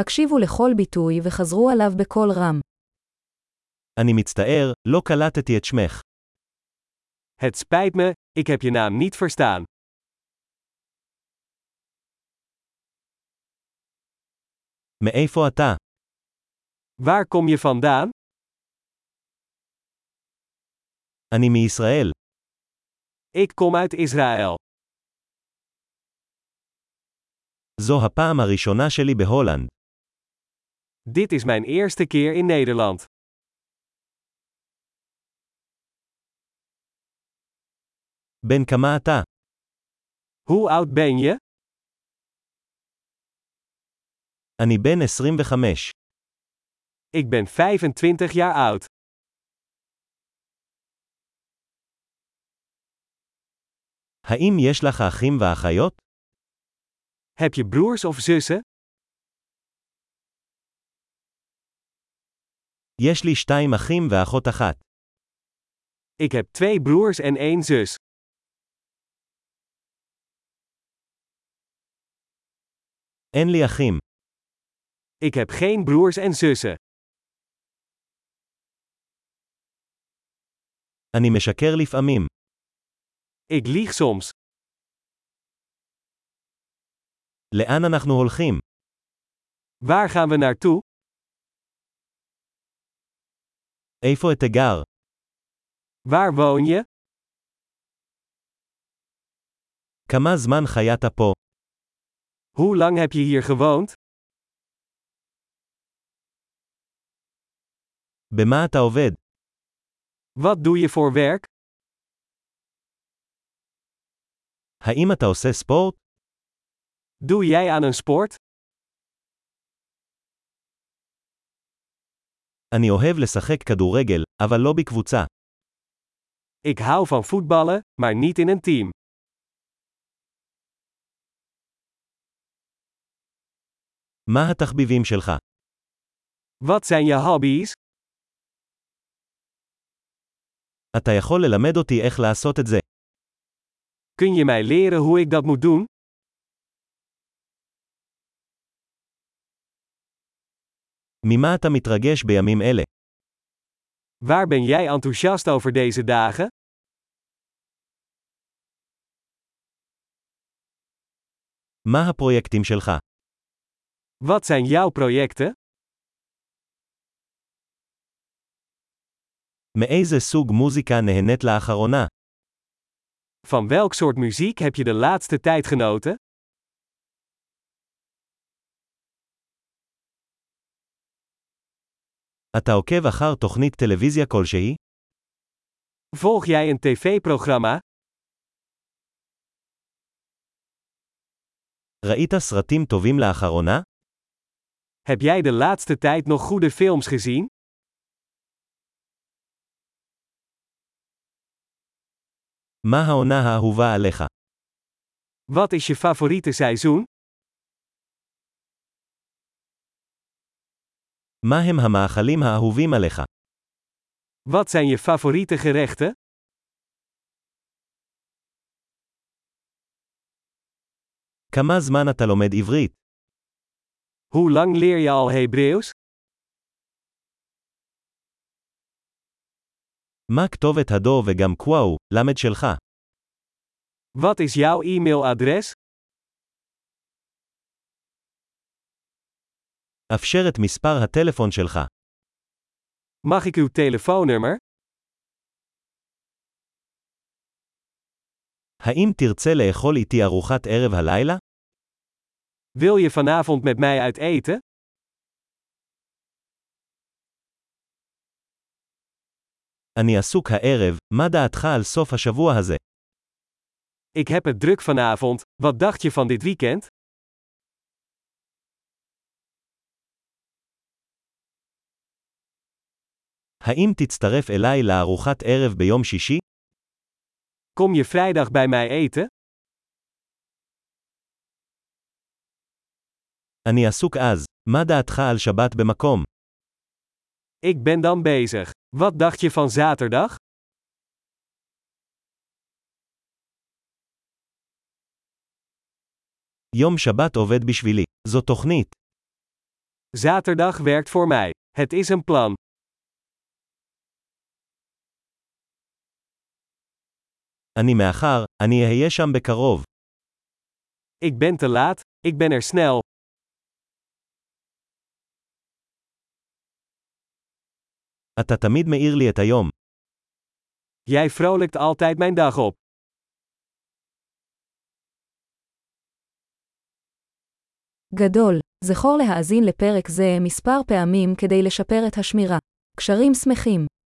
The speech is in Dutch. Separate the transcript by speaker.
Speaker 1: הקשיבו לכל ביטוי וחזרו עליו בקול רם.
Speaker 2: אני מצטער, לא קלטתי את שמך.
Speaker 3: Het spijt me, ik heb je naam niet verstaan.
Speaker 2: מאיפה אתה?
Speaker 3: Waar kom je vandaan?
Speaker 2: אני מישראל.
Speaker 3: Ik kom uit Israël.
Speaker 2: זו הפעם הראשונה שלי בהולנד.
Speaker 3: Dit is mijn eerste keer in Nederland.
Speaker 2: בן כמה אתה?
Speaker 3: Hoe oud ben je?
Speaker 2: אני בן 25.
Speaker 3: Ik ben 25 jaar oud.
Speaker 2: האם יש לך אחים ואחיות?
Speaker 3: Heb je broers of zussen?
Speaker 2: יש לי שתיים אחים ואחות אחת.
Speaker 3: Ik heb twee broers en één zus.
Speaker 2: אין לי אחים.
Speaker 3: Ik heb geen broers en zussen.
Speaker 2: אני משקר לפעמים.
Speaker 3: Ik lieg soms.
Speaker 2: לאן אנחנו הולכים?
Speaker 3: Waar gaan we naartoe?
Speaker 2: איפה את הגר?
Speaker 3: Waar woon je?
Speaker 2: כמה זמן חיית פה?
Speaker 3: Hoe lang heb je hier gewoond?
Speaker 2: במה אתה עובד?
Speaker 3: Wat doe je voor werk?
Speaker 2: האם אתה עושה ספורט?
Speaker 3: Doe jij aan een sport?
Speaker 2: אני אוהב לשחק כדורגל, אבל לא בקבוצה.
Speaker 3: Ik hou van voetballen, maar niet in een team.
Speaker 2: מה התחביבים שלך?
Speaker 3: Wat zijn je hobby's?
Speaker 2: אתה יכול ללמד אותי איך לעשות את זה.
Speaker 3: Kun je mij leren hoe ik dat moet doen?
Speaker 2: ממה אתה מתרגש בימים אלה?
Speaker 3: Waar ben jij enthousiast over deze dagen?
Speaker 2: מה הפרויקטים שלך?
Speaker 3: Wat zijn jouw projecten?
Speaker 2: מאיזה סוג מוזיקה נהנית לאחרונה?
Speaker 3: Van welk soort muziek heb je de laatste tijd genoten?
Speaker 2: אתה עוקב אחר תוכנית טלוויזיה כלשהי?
Speaker 3: Volg jij een tv-programma?
Speaker 2: ראית סרטים טובים לאחרונה?
Speaker 3: Heb jij de laatste tijd nog goede films gezien?
Speaker 2: מה העונה האהובה עליך?
Speaker 3: Wat is je favoriete seizoen?
Speaker 2: מה הם המאכלים האהובים עליך?
Speaker 3: Wat zijn je favoriete gerechten?
Speaker 2: כמה זמן אתה לומד עברית?
Speaker 3: Hoe lang leer je al Hebreeuws?
Speaker 2: מה כתובת הדו וגם קוואו, למד שלך?
Speaker 3: Wat is jouw e-mailadres?
Speaker 2: אפשר את מספר הטלפון שלך.
Speaker 3: Mag ik uw telefoonnummer?
Speaker 2: האם תרצה לאכול איתי ארוחת ערב הלילה?
Speaker 3: Wil je vanavond met mij uit eten?
Speaker 2: אני עסוק הערב, מה דעתך על סוף השבוע הזה?
Speaker 3: Ik heb het druk vanavond, wat dacht je van dit weekend?
Speaker 2: האם תצטרף אליי לארוחת ערב ביום שישי?
Speaker 3: Kom je vrijdag bij mij eten?
Speaker 2: אני עסוק אז, מה דעתך על שבת במקום?
Speaker 3: Ik ben dan bezig. Wat dacht je van zaterdag?
Speaker 2: יום שבת עובד בשבילי, זו תוכנית.
Speaker 3: Zaterdag werkt voor mij. Het is een plan.
Speaker 2: אני מאחר, אני אהיה שם בקרוב.
Speaker 3: Ik ben te laat, ik ben er snel.
Speaker 2: אתה תמיד מאיר לי את היום.
Speaker 3: Jij vrolijkt altijd mijn dag op.
Speaker 1: גדול. זכור להאזין לפרק זה מספר פעמים כדי לשפר את השמירה. קשרים שמחים.